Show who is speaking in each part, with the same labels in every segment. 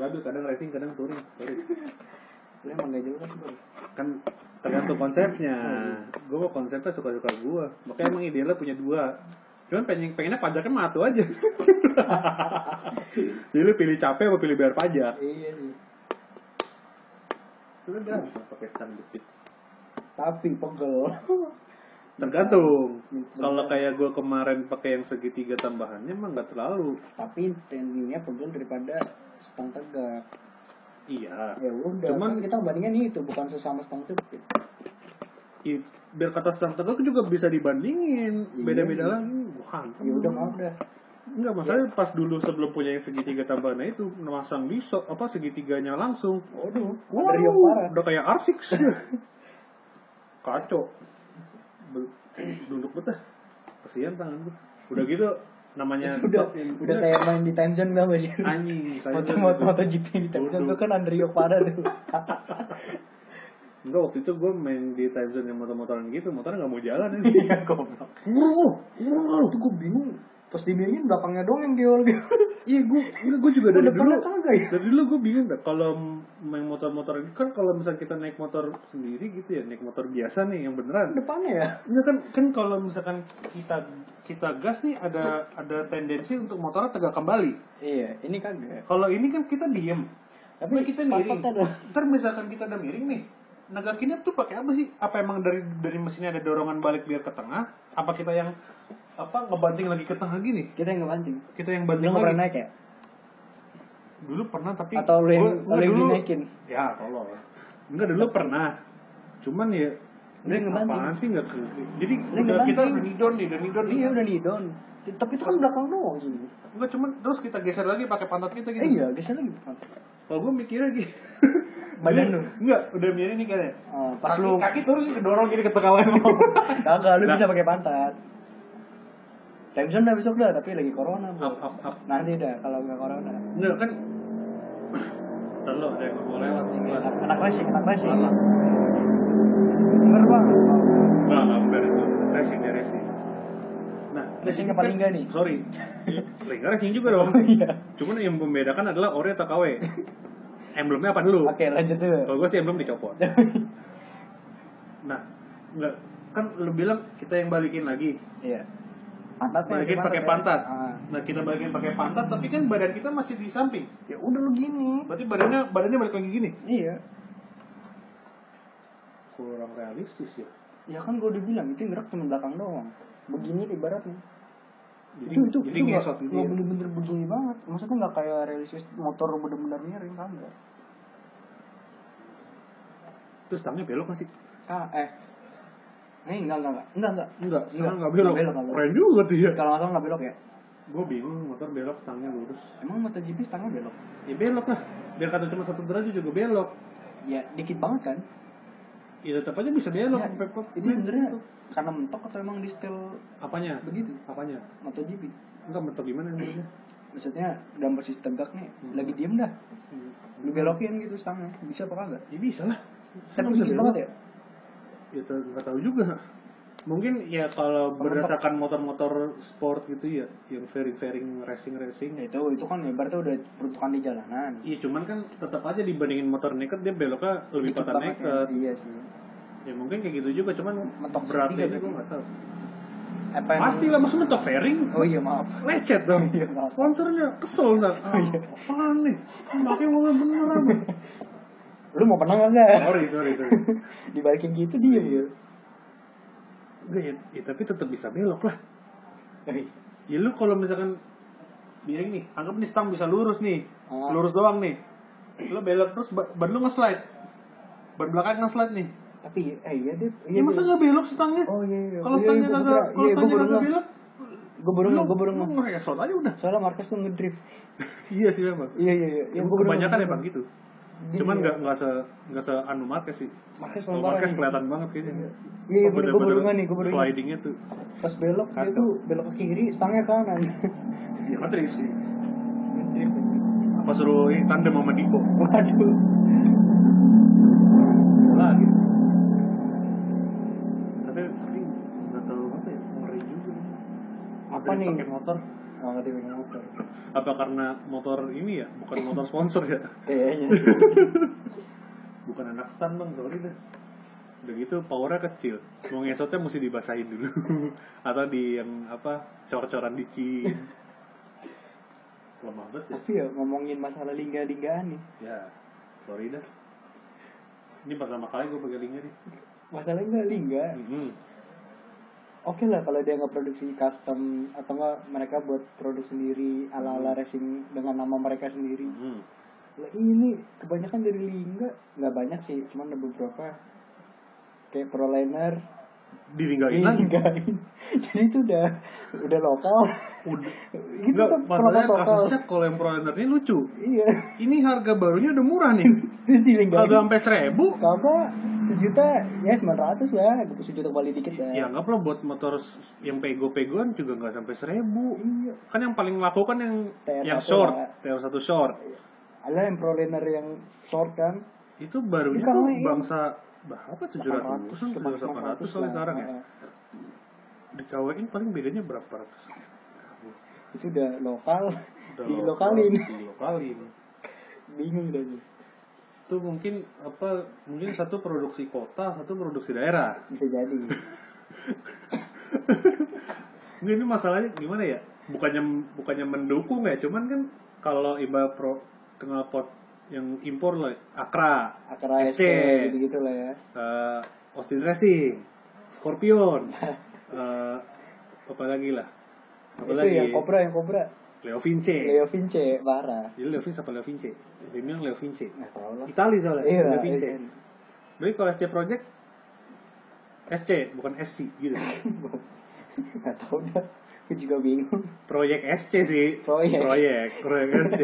Speaker 1: racing kadang touring touring
Speaker 2: Lu emang gak jelas bro
Speaker 1: kan tergantung konsepnya gue mau konsepnya suka suka gue makanya emang idealnya punya dua cuman pengen pengennya pajaknya matu aja jadi lu pilih capek apa pilih bayar pajak
Speaker 2: Iya sih
Speaker 1: sudah pakai stand dikit
Speaker 2: Tapi pegel
Speaker 1: tergantung kalau kayak gue kemarin pakai yang segitiga tambahannya emang nggak terlalu
Speaker 2: Tapi tendinnya pegel daripada stang tegak
Speaker 1: iya
Speaker 2: Ya udah
Speaker 1: Cuman-
Speaker 2: Cuman kita bandingin itu Bukan sesama stang jepit
Speaker 1: I, biar kata stand tegak juga bisa dibandingin beda-beda lagi bukan
Speaker 2: Iya. Ya udah maaf dah
Speaker 1: Enggak, masalahnya pas dulu sebelum punya yang segitiga tambahan nah itu masang di so- apa segitiganya langsung.
Speaker 2: Waduh
Speaker 1: Wow,
Speaker 2: Dari yang parah
Speaker 1: udah kayak R6. Kacau. Be- Duduk betah. Kasihan tangan gua. Udah gitu namanya
Speaker 2: Udah
Speaker 1: stop-
Speaker 2: Ya, Udah kayak main di time zone gak sih
Speaker 1: anjing. gitu. saya
Speaker 2: Motor
Speaker 1: juga.
Speaker 2: motor MotoGP di time zone tuh kan Andrio parah tuh
Speaker 1: Enggak, waktu itu gue main di time zone yang motor-motoran gitu, motornya nggak mau jalan ini.
Speaker 2: Iya goblok
Speaker 1: Wow, wow,
Speaker 2: Itu gue bingung Pas dibilangin belakangnya doang yang geol
Speaker 1: Iya, gue gue juga dari
Speaker 2: Udah pernah
Speaker 1: dulu
Speaker 2: kagak ya?
Speaker 1: dari dulu gue bingung dah kalau main motor-motor ini kan kalau misalnya kita naik motor sendiri gitu ya naik motor biasa nih yang beneran
Speaker 2: Depannya ya
Speaker 1: Enggak kan kan kalau misalkan kita kita gas nih ada ada tendensi untuk motornya tegak kembali
Speaker 2: Iya ini kagak
Speaker 1: kalau ini kan kita diem
Speaker 2: Tapi
Speaker 1: Nah, kita miring
Speaker 2: pantatnya dong.
Speaker 1: ntar misalkan kita udah miring nih negakinnya tuh pakai apa sih apa emang dari dari mesinnya ada dorongan balik biar ke tengah apa kita yang apa ngebanting lagi ke tengah gini
Speaker 2: Kita yang ngebanting
Speaker 1: kita yang
Speaker 2: Lu
Speaker 1: banting
Speaker 2: nggak pernah
Speaker 1: lagi
Speaker 2: naik ya?
Speaker 1: dulu pernah tapi
Speaker 2: Atau lu yang,
Speaker 1: gua- gua
Speaker 2: lu yang
Speaker 1: dulu-
Speaker 2: dinaikin?
Speaker 1: Ya, tolol. Enggak dulu pernah. Cuman ya
Speaker 2: Lu yang ngebanting.
Speaker 1: apaan sih enggak Jadi
Speaker 2: Lu yang
Speaker 1: udah kita
Speaker 2: ngebanting.
Speaker 1: udah nidon nih, udah Iya. nidon nih.
Speaker 2: Iya udah nih down Tapi itu kan belakang doang sih
Speaker 1: Enggak cuman terus kita geser lagi pakai pantat kita
Speaker 2: Eh,
Speaker 1: gitu.
Speaker 2: iya biasanya lagi depan
Speaker 1: Kalau gue mikirnya gitu.
Speaker 2: Badan lu?
Speaker 1: Enggak, udah miring nih kayaknya.
Speaker 2: Ah, Pas
Speaker 1: kaki,
Speaker 2: lu
Speaker 1: kaki turun kedorong gini ke tengah lagi.
Speaker 2: Kagak lu
Speaker 1: Nah.
Speaker 2: bisa pakai pantat Time zone udah besok dah tapi lagi corona bro.
Speaker 1: up up up.
Speaker 2: Nanti dah kalau nggak corona
Speaker 1: Enggak kan. Selalu ada yang mau lewat ini.
Speaker 2: Anak anak racing, anak racing
Speaker 1: Salah.
Speaker 2: Bener banget
Speaker 1: Enggak, enggak benar itu. Nah, Racing ya racing. Nah,
Speaker 2: Racing apa Lingga nih?
Speaker 1: Sorry. Lingga racing juga dong.
Speaker 2: Iya
Speaker 1: Cuman yang membedakan adalah ori atau KW. Emblemnya apa dulu?
Speaker 2: Oke Ya. lanjut dulu
Speaker 1: Kalau gue sih emblem dicopot. Nah, enggak kan lu bilang kita yang balikin lagi.
Speaker 2: Iya Pantat mah
Speaker 1: Balikin
Speaker 2: gimana,
Speaker 1: pakai
Speaker 2: Pak?
Speaker 1: pantat.
Speaker 2: Ah.
Speaker 1: Nah, kita balikin pakai pantat tapi kan badan kita masih di samping.
Speaker 2: Ya udah lu gini
Speaker 1: Berarti badannya badannya balik lagi gini.
Speaker 2: Iya
Speaker 1: Kurang realistis ya.
Speaker 2: Ya kan gue udah bilang itu yang gerak cuma belakang doang. Begini ibaratnya.
Speaker 1: Jadi
Speaker 2: itu itu
Speaker 1: jadi
Speaker 2: itu nggak-
Speaker 1: ngesot gitu
Speaker 2: nggak
Speaker 1: ya.
Speaker 2: bener-bener begini banget. Maksudnya nggak kayak realistis motor bener-bener miring kan enggak.
Speaker 1: Terus tangannya belok masih.
Speaker 2: Ah eh. Nih enggak enggak enggak enggak enggak.
Speaker 1: Enggak,
Speaker 2: Enggak,
Speaker 1: enggak belok.
Speaker 2: enggak belok, enggak belok.
Speaker 1: Keren juga tuh ya.
Speaker 2: Kalau nggak salah nggak belok ya.
Speaker 1: Gue bingung motor belok stangnya lurus.
Speaker 2: Emang MotoGP stangnya belok.
Speaker 1: Ya belok lah. Biar kata cuma satu derajat juga belok.
Speaker 2: Ya dikit banget kan.
Speaker 1: Ya tetap aja bisa belok.
Speaker 2: Ya,
Speaker 1: sampai pot-
Speaker 2: itu sebenarnya karena mentok atau emang di setel
Speaker 1: apanya?
Speaker 2: begitu Iya.
Speaker 1: Apanya?
Speaker 2: MotoGP.
Speaker 1: Enggak mentok gimana nih?
Speaker 2: Maksudnya dalam posisi tegak nih
Speaker 1: Hmm.
Speaker 2: lagi diem dah. Lu belokin gitu stangnya. Bisa apa kagak?
Speaker 1: Ya bisa lah.
Speaker 2: Tapi dikit banget ya.
Speaker 1: Ya tuh, nggak tahu juga. Mungkin ya kalau berdasarkan motor-motor sport gitu ya, yang fairing-fairing racing-racing.
Speaker 2: Ya itu itu kan ibaratnya udah peruntukan di jalanan.
Speaker 1: Iya cuman kan tetap aja dibandingin motor naked dia beloknya lebih
Speaker 2: Dikit
Speaker 1: patah
Speaker 2: banget
Speaker 1: naked.
Speaker 2: Ya. Iya sih.
Speaker 1: Ya mungkin kayak gitu juga cuman
Speaker 2: Mentok
Speaker 1: beratnya
Speaker 2: segitiga
Speaker 1: juga
Speaker 2: kan?
Speaker 1: nggak tahu.
Speaker 2: Apa yang-
Speaker 1: Pasti lah maksudnya mentok fairing.
Speaker 2: Oh iya maaf.
Speaker 1: lecet dong
Speaker 2: Iya, maaf.
Speaker 1: sponsornya kesel ntar ah, apaan nih pakai uangnya bener apa
Speaker 2: Lu mau menang enggak?
Speaker 1: sorry sorry sorry
Speaker 2: Dibalikin gitu dia ya.
Speaker 1: Nggak, ya, ya, tapi tetap bisa belok lah
Speaker 2: Eh,
Speaker 1: ya lu kalau misalkan miring nih anggap nih stang bisa lurus nih
Speaker 2: Ah.
Speaker 1: lurus doang nih lu belok terus ba- ban lu nge-slide ban belakang nge-slide nih
Speaker 2: Tapi eh iya deh.
Speaker 1: ya masa nggak belok si stangnya
Speaker 2: Oh iya iya.
Speaker 1: kalau
Speaker 2: Iya,
Speaker 1: stangnya
Speaker 2: iya, gua
Speaker 1: kagak kalau
Speaker 2: bener. Iya, gua
Speaker 1: stangnya
Speaker 2: baru
Speaker 1: kagak
Speaker 2: ngeh.
Speaker 1: belok
Speaker 2: Gue baru nggak, gue baru nggak.
Speaker 1: lu ngesot aja udah
Speaker 2: Soalnya Marquez tuh ngedrift.
Speaker 1: iya sih memang
Speaker 2: Iya iya iya. Yang gua Iya, baru
Speaker 1: kebanyakan
Speaker 2: ngeh.
Speaker 1: emang gitu
Speaker 2: Dia-
Speaker 1: cuman nggak nggak se nggak se anu Marquez sih
Speaker 2: Marquez
Speaker 1: Kalau
Speaker 2: parah
Speaker 1: Marquez
Speaker 2: sih.
Speaker 1: kelihatan banget kayaknya.
Speaker 2: kan. Iya, iya,
Speaker 1: Oh,
Speaker 2: gua- gua
Speaker 1: bener-bener
Speaker 2: baru nggak nih, gua baru nggak.
Speaker 1: Slidingnya tuh.
Speaker 2: Pas belok dia
Speaker 1: Kagak.
Speaker 2: tuh belok ke kiri, stangnya kanan. Iya,
Speaker 1: Ya ngedrift sih.
Speaker 2: Ngedrift.
Speaker 1: Apa suruh ini tandem sama Diko?
Speaker 2: Waduh.
Speaker 1: Lah gitu. Tapi tapi nggak tahu apa ya. Ngeri juga.
Speaker 2: Apa apa nih
Speaker 1: Pakai
Speaker 2: motor? Oh, nggak dibilang motor.
Speaker 1: Apa karena motor ini ya? Bukan motor sponsor ya?
Speaker 2: Kayaknya.
Speaker 1: Bukan anak stan bang, sorry dah. Udah gitu powernya kecil. Mau ngesotnya mesti dibasahin dulu. Atau di yang apa, cor-coran dikit. Lemah banget ya?
Speaker 2: Tapi ya ngomongin masalah lingga-linggaan nih.
Speaker 1: Ya, sorry dah. Ini pertama kali gue pakai lingga nih.
Speaker 2: Masalahnya nggak lingga.
Speaker 1: Mm-mm.
Speaker 2: Oke lah kalau dia nggak produksi custom atau nggak mereka buat produk sendiri ala-ala
Speaker 1: Hmm.
Speaker 2: racing dengan nama mereka sendiri.
Speaker 1: Mm-mm.
Speaker 2: Lah ini kebanyakan dari lingga nggak banyak sih, cuman ada beberapa kayak proliner
Speaker 1: Dilinggain lagi.
Speaker 2: linggain. Jadi itu udah udah lokal.
Speaker 1: Udah.
Speaker 2: Itu
Speaker 1: Enggak,
Speaker 2: tuh
Speaker 1: masalahnya
Speaker 2: produk lokal.
Speaker 1: kasusnya kalau yang proliner ini lucu.
Speaker 2: Iya.
Speaker 1: Ini harga barunya udah murah nih.
Speaker 2: Terus dilinggain.
Speaker 1: Kagak sampai seribu.
Speaker 2: Kagak sejuta ya 900 lah, 20 juta kembali dikit lah.
Speaker 1: Ya anggaplah buat motor s- yang pego-pegoan juga nggak sampai seribu.
Speaker 2: Iya.
Speaker 1: Kan yang paling laku kan yang
Speaker 2: TR1
Speaker 1: yang short,
Speaker 2: lah.
Speaker 1: TR1 short.
Speaker 2: Ada yang proliner yang short kan
Speaker 1: Itu barunya
Speaker 2: Bukan
Speaker 1: tuh
Speaker 2: lah, iya.
Speaker 1: bangsa berapa 700
Speaker 2: 800, cuma
Speaker 1: 800
Speaker 2: lah.
Speaker 1: kali sekarang ya.
Speaker 2: Heeh.
Speaker 1: Dikawain paling bedanya berapa ratus?
Speaker 2: Itu udah lokal,
Speaker 1: Udah
Speaker 2: di
Speaker 1: lo-
Speaker 2: lokalin.
Speaker 1: Dilokalin.
Speaker 2: Bingung dah gue.
Speaker 1: Itu mungkin apa? Mungkin satu produksi kota, satu produksi daerah.
Speaker 2: Bisa jadi.
Speaker 1: Nggak, ini masalahnya gimana ya? Bukannya bukannya mendukung ya, cuman kan kalau iba pro kenal pot yang impor lah, Akra,
Speaker 2: Akar
Speaker 1: SC.
Speaker 2: ASC gitu-gitu lah ya.
Speaker 1: eh, Austin Racing, Scorpion, eh, apa lagi lah? Apa
Speaker 2: itu
Speaker 1: lagi?
Speaker 2: yang kobra yang kobra.
Speaker 1: Leo Vince.
Speaker 2: Leo Vince parah.
Speaker 1: Jadi Leo Vince apa Leo Vince? Dia bilang Leo Vince.
Speaker 2: Nggak tahu lah.
Speaker 1: Itali soalnya,
Speaker 2: Iya,
Speaker 1: Leo Vince.
Speaker 2: iya.
Speaker 1: Berarti kalau SC Project, SC bukan SC gitu.
Speaker 2: Nggak tahu dah. Gue juga bingung.
Speaker 1: Proyek SC sih.
Speaker 2: Proyek.
Speaker 1: Proyek, proyek SC.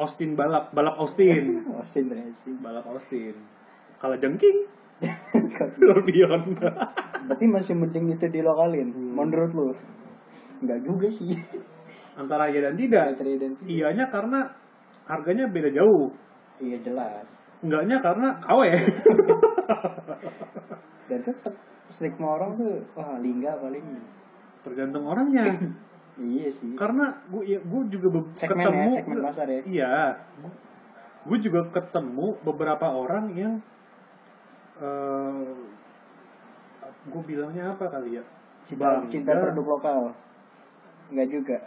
Speaker 1: Austin balap, balap Austin.
Speaker 2: Austin Racing.
Speaker 1: balap Austin kalau jengking
Speaker 2: Sekarang.
Speaker 1: Scorpion
Speaker 2: Berarti masih mending itu dilokalin
Speaker 1: Hmm.
Speaker 2: menurut lu? Enggak juga sih.
Speaker 1: antara iya dan tidak
Speaker 2: Baterai dan
Speaker 1: ianya karena harganya beda jauh
Speaker 2: Iya jelas.
Speaker 1: enggaknya karena KW
Speaker 2: Dan tetap stigma orang tuh wah lingga paling.
Speaker 1: tergantung orangnya
Speaker 2: Iya sih.
Speaker 1: karena gue gue juga be-
Speaker 2: Segmen ya,
Speaker 1: ketemu
Speaker 2: segmen pasar ya.
Speaker 1: iya gue juga ketemu beberapa orang yang eh gue bilangnya apa kali ya
Speaker 2: Cinta,
Speaker 1: Bangga.
Speaker 2: cinta produk lokal. Enggak juga.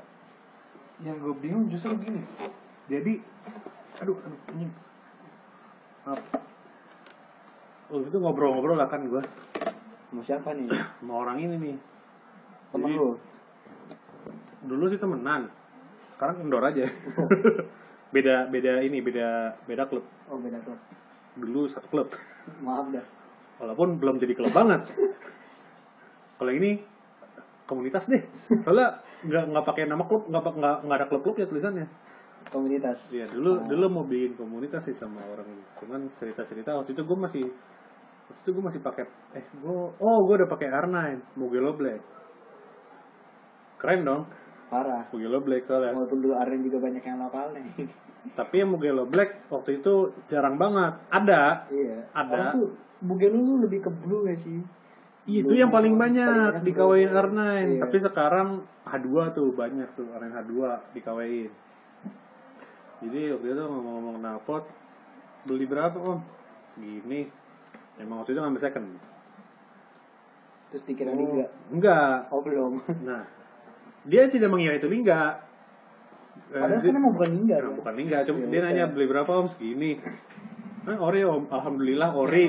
Speaker 1: yang gue bingung justru gini jadi aduh aduh ini maaf waktu itu ngobrol-ngobrol lah kan gue
Speaker 2: Mau siapa nih?
Speaker 1: sama orang ini nih
Speaker 2: Temen
Speaker 1: Jadi-
Speaker 2: lu.
Speaker 1: dulu sih temenan sekarang kendor aja beda beda ini beda beda klub
Speaker 2: Oh beda klub.
Speaker 1: dulu satu klub
Speaker 2: Maaf dah.
Speaker 1: walaupun belum jadi klub banget kalau ini komunitas deh soalnya nggak nggak pakai nama klub nggak pa- nggak nggak ada klub-klub ya tulisannya
Speaker 2: Komunitas.
Speaker 1: Iya dulu dulu mau bikin komunitas sih sama orang ini. Cuman cerita cerita waktu itu gue masih waktu itu gue masih pakai eh gue oh gue udah pakai R9 Mugello Black. Keren dong
Speaker 2: Parah.
Speaker 1: Mugello Black soalnya.
Speaker 2: Walaupun dulu Arden juga banyak yang lokalnya.
Speaker 1: Tapi yang Mugello Black waktu itu jarang banget. Ada.
Speaker 2: iya.
Speaker 1: Ada.
Speaker 2: Orang tuh mungkin lu lebih ke blue gak sih?
Speaker 1: Iya, Itu
Speaker 2: Blue
Speaker 1: yang paling
Speaker 2: yang
Speaker 1: banyak
Speaker 2: Iya. paling
Speaker 1: dikawain
Speaker 2: banyak.
Speaker 1: R9.
Speaker 2: Iya.
Speaker 1: Tapi sekarang H2 tuh banyak tuh R9 H2 dikawain. Jadi waktu itu ngomong-ngomong knalpot beli berapa om? Gini. Emang waktu itu ngambil second.
Speaker 2: Terus
Speaker 1: Oh.
Speaker 2: dikira lingga.
Speaker 1: Enggak.
Speaker 2: Oh belum.
Speaker 1: Nah, dia tidak mengira itu lingga. Eh,
Speaker 2: Padahal
Speaker 1: dia-
Speaker 2: kan emang bukan lingga.
Speaker 1: Nah,
Speaker 2: kan?
Speaker 1: bukan lingga, cuma
Speaker 2: Ya,
Speaker 1: dia
Speaker 2: bukan.
Speaker 1: nanya beli berapa om segini. Nah, ori om, alhamdulillah ori.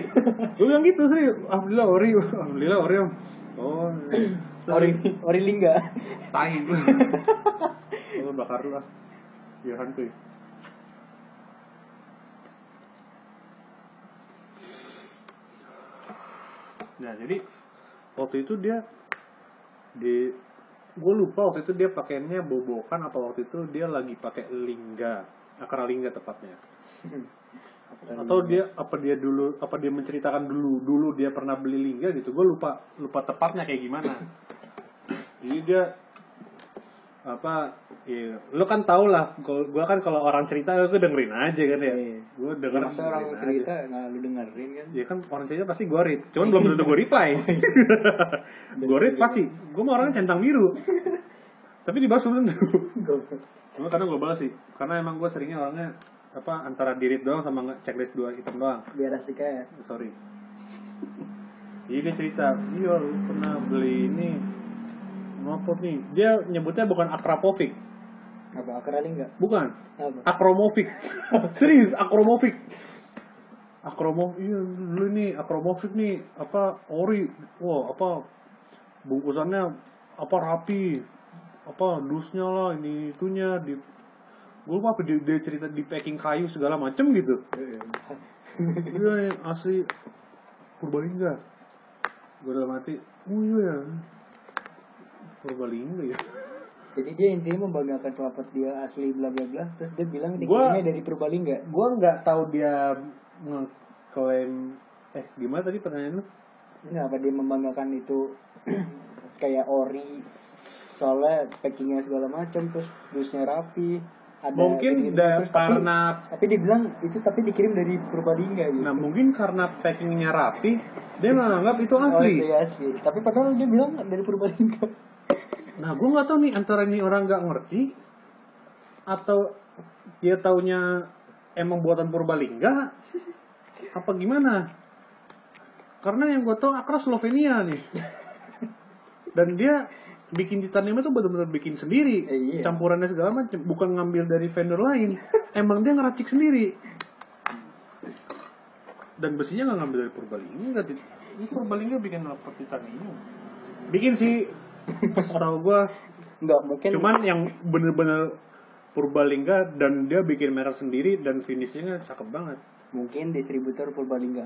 Speaker 1: Gue bilang gitu sih, alhamdulillah ori, alhamdulillah ori om. Oh,
Speaker 2: Ori, ori lingga.
Speaker 1: tai lu. Lu bakar lu ah. Biar hantu. ya. Nah, jadi waktu itu dia di gue lupa waktu itu dia pakainya bobokan atau waktu itu dia lagi pakai lingga akar lingga tepatnya atau dia apa dia dulu apa dia menceritakan dulu dulu dia pernah beli lingga gitu gue lupa lupa tepatnya kayak gimana jadi dia apa ya, lu kan tau lah gua gua kan kalau orang cerita gue dengerin aja kan ya
Speaker 2: Iya.
Speaker 1: gue denger
Speaker 2: Ya, masa orang
Speaker 1: dengerin aja.
Speaker 2: cerita nggak lu dengerin kan
Speaker 1: ya kan orang cerita pasti gue read cuman belum tentu gue reply
Speaker 2: Iya.
Speaker 1: gue read pasti gue mau orangnya centang biru tapi dibahas belum tentu cuma kadang gue balas sih karena emang gue seringnya orangnya apa antara dirit doang sama nge- checklist dua item doang
Speaker 2: biar asik aja
Speaker 1: sorry jadi dia cerita iya lu pernah beli ini apa nih dia nyebutnya bukan akrapovic
Speaker 2: apa akarali nggak
Speaker 1: bukan
Speaker 2: apa
Speaker 1: akromofik serius akromofik akromo iya dulu nih akromofik nih apa ori wah apa bungkusannya apa rapi apa dusnya lah ini itunya di gue lupa apa dia, dia cerita di packing kayu segala macem gitu iya nih, asli Purbalingga gue udah mati oh iya ya Purbalingga ya
Speaker 2: jadi dia intinya membanggakan kelapa dia asli bla bla bla terus dia bilang dia
Speaker 1: Gua-
Speaker 2: kirimnya dari Purbalingga
Speaker 1: gue nggak tahu dia ngeklaim eh gimana tadi pertanyaan lu
Speaker 2: Nggak apa dia membanggakan itu kayak ori soalnya packingnya segala macam terus dusnya rapi ada
Speaker 1: mungkin
Speaker 2: gini-gini.
Speaker 1: da-
Speaker 2: Terus tapi-
Speaker 1: karena
Speaker 2: tapi dibilang itu tapi dikirim dari Purbalingga gitu
Speaker 1: nah mungkin karena packingnya rapi dia menganggap itu asli
Speaker 2: Oh, iya, asli. Tapi padahal dia bilang dari Purbalingga.
Speaker 1: nah gue nggak tahu nih antara ini orang nggak ngerti atau dia taunya emang buatan Purbalingga apa gimana karena yang gue tahu akra Slovenia nih dan dia bikin titanium itu benar-benar bikin sendiri
Speaker 2: Eh, iya.
Speaker 1: campurannya segala macam bukan ngambil dari vendor lain emang dia ngeracik sendiri dan besinya nggak ngambil dari Purbalingga Tit. ini Purbalingga bikin apa titanium bikin sih tahu gue
Speaker 2: Enggak, mungkin
Speaker 1: cuman yang bener-bener Purbalingga dan dia bikin merek sendiri dan finishnya cakep banget
Speaker 2: mungkin distributor Purbalingga.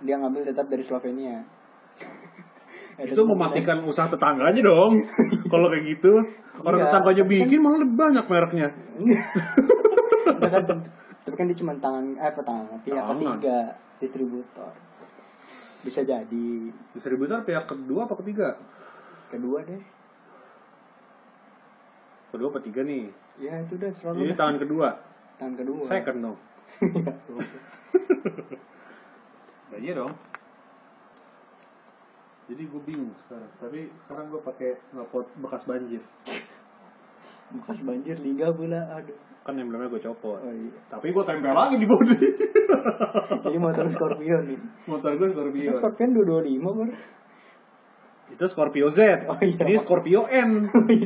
Speaker 2: Dia ngambil tetap dari Slovenia. Ada
Speaker 1: itu mematikan usaha tetangganya dong kalau kayak gitu orang
Speaker 2: Iya.
Speaker 1: tetangganya bikin malah lebih banyak mereknya
Speaker 2: kemungkinan. Enggak kan, tapi kan dia cuma tangan eh apa tangan pihak
Speaker 1: Tangan.
Speaker 2: ketiga distributor. Bisa jadi
Speaker 1: distributor pihak kedua apa ketiga
Speaker 2: kedua deh.
Speaker 1: kedua apa tiga nih
Speaker 2: Ya itu udah
Speaker 1: ini
Speaker 2: selalu
Speaker 1: tangan kedua
Speaker 2: tangan kedua.
Speaker 1: second dong ya iya dong jadi gue bingung sekarang tapi sekarang gue pakai ngapot bekas banjir
Speaker 2: Bekas banjir liga pula. Aduh.
Speaker 1: kan emblemnya gue copot
Speaker 2: Oh, iya.
Speaker 1: tapi gue tempel lagi di body
Speaker 2: Jadi motor Scorpio nih.
Speaker 1: motor gue
Speaker 2: Bisa
Speaker 1: Scorpio
Speaker 2: Scorpio 225 bor.
Speaker 1: itu Scorpio Z
Speaker 2: Oh, iya.
Speaker 1: ini Scorpio N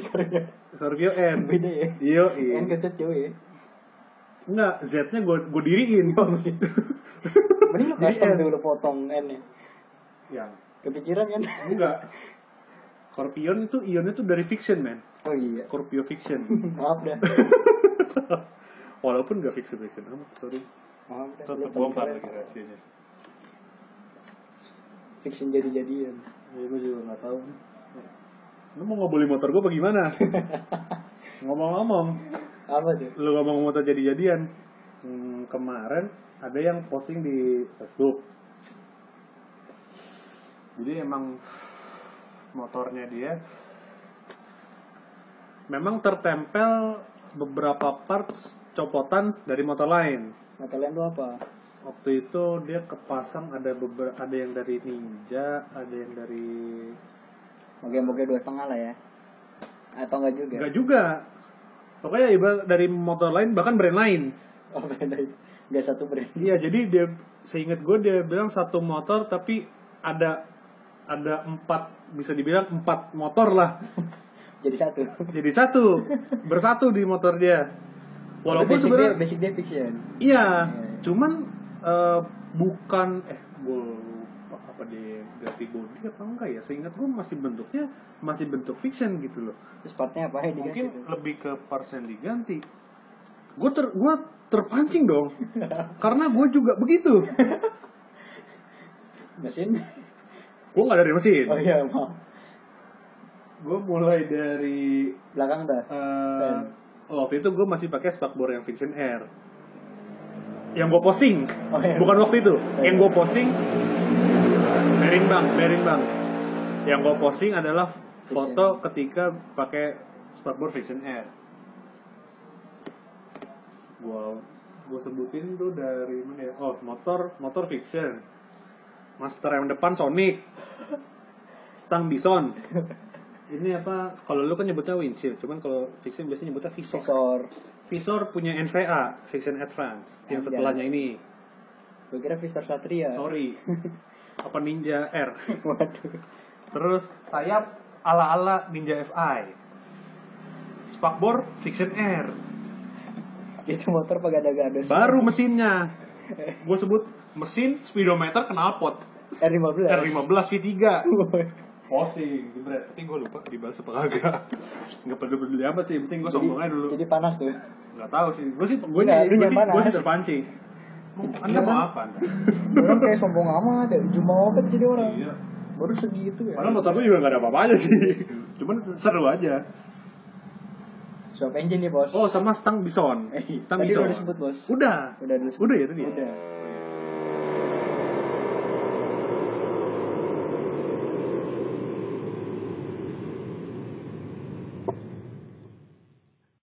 Speaker 2: Sorry ya.
Speaker 1: Scorpio N
Speaker 2: Beda ya.
Speaker 1: Iya, iya.
Speaker 2: N ke Z jauh ya.
Speaker 1: Enggak, Z-nya gue gue diriin.
Speaker 2: Oh, Mending lu
Speaker 1: Jadi
Speaker 2: custom
Speaker 1: N.
Speaker 2: dulu potong N ya.
Speaker 1: ya,
Speaker 2: Kepikiran kan?
Speaker 1: enggak. Scorpion itu ionnya tuh dari fiction, man.
Speaker 2: Oh iya.
Speaker 1: Scorpio fiction.
Speaker 2: Maaf dah.
Speaker 1: Walaupun gak fiction fiction amat, sorry.
Speaker 2: Maaf dah.
Speaker 1: Tetap
Speaker 2: Lu
Speaker 1: bongkar
Speaker 2: paling
Speaker 1: lagi
Speaker 2: keren.
Speaker 1: rahasianya.
Speaker 2: Fiction jadi-jadian.
Speaker 1: Ya, gue juga gak tahu. Lu mau ngobrolin motor gue bagaimana? Ngomong-ngomong,
Speaker 2: Apa tuh?
Speaker 1: lu ngomong motor jadi-jadian. Hmm, kemarin ada yang posting di Facebook. Jadi emang motornya dia memang tertempel beberapa parts copotan dari motor lain.
Speaker 2: Mata lain lu apa?
Speaker 1: Waktu itu dia kepasang ada beberapa ada yang dari Ninja, ada yang dari
Speaker 2: Moga-moga dua setengah lah ya. Atau enggak juga?
Speaker 1: enggak juga. Pokoknya ibarat dari motor lain bahkan brand lain.
Speaker 2: Oh beda. Enggak satu brand.
Speaker 1: Iya, jadi dia seingat gue dia bilang satu motor tapi ada ada empat bisa dibilang empat motor lah
Speaker 2: Jadi satu.
Speaker 1: jadi satu bersatu di motor dia. Walaupun
Speaker 2: basic dia,
Speaker 1: sebenarnya
Speaker 2: basic dia ya, fiction.
Speaker 1: Iya,
Speaker 2: Iya.
Speaker 1: cuman eh, bukan eh gue lupa apa dia ganti body apa enggak ya? Seingat gue masih bentuknya masih bentuk fiction gitu loh.
Speaker 2: Terus partnya apa ya? Diganti
Speaker 1: Mungkin
Speaker 2: tuh.
Speaker 1: lebih ke parts yang diganti. Gue ter gua terpancing dong, karena gue juga begitu.
Speaker 2: mesin.
Speaker 1: Gue nggak dari mesin,
Speaker 2: Oh iya, maaf.
Speaker 1: gue mulai dari
Speaker 2: Belakang dah.
Speaker 1: eh,
Speaker 2: Sen.
Speaker 1: waktu itu gue masih pakai spakbor yang fiction air. Yang gue posting,
Speaker 2: Oh, iya.
Speaker 1: bukan waktu itu.
Speaker 2: iya.
Speaker 1: Yang gue posting, berin bang, berin bang. Yang gue posting adalah foto ketika pakai Starboard Vision Air gua gua sebutin tuh dari mana ya oh motor motor Vision master yang depan Sonic stang Bison ini apa kalau lu kan nyebutnya windshield cuman kalau Vision biasanya nyebutnya visor
Speaker 2: visor
Speaker 1: visor punya NVA Vision Advance yang
Speaker 2: Anjay.
Speaker 1: setelahnya ini
Speaker 2: gue kira visor satria
Speaker 1: sorry apa Ninja R
Speaker 2: waduh
Speaker 1: Terus sayap ala-ala Ninja FI. Spakbor Fixed Air.
Speaker 2: itu motor pegada-gada sih.
Speaker 1: Baru mesinnya. Gue sebut mesin speedometer knalpot
Speaker 2: R15
Speaker 1: R15 V3. Posting, jebret. Tapi gue lupa dibahas apa kagak. Gak peduli-peduli amat sih, yang penting gue sombong aja dulu.
Speaker 2: jadi panas tuh
Speaker 1: Gak tau sih, gue sih, gue sih,
Speaker 2: Nggak, lu
Speaker 1: gue sih,
Speaker 2: nyaman,
Speaker 1: gue sih
Speaker 2: As.
Speaker 1: terpancing. Anda mau apa? Anda?
Speaker 2: orang kayak sombong amat ya jumawa banget jadi orang
Speaker 1: Iya.
Speaker 2: baru segitu ya
Speaker 1: Padahal motor gue juga gak ada apa-apanya sih. Cuman seru aja.
Speaker 2: swap engine nih bos
Speaker 1: Oh sama Stang Bison.
Speaker 2: Eh,
Speaker 1: Stang
Speaker 2: tadi
Speaker 1: Bison.
Speaker 2: Eh, udah disebut, Bos.
Speaker 1: Udah.
Speaker 2: Udah disebut.
Speaker 1: Udah ya tadi. ya?
Speaker 2: Udah.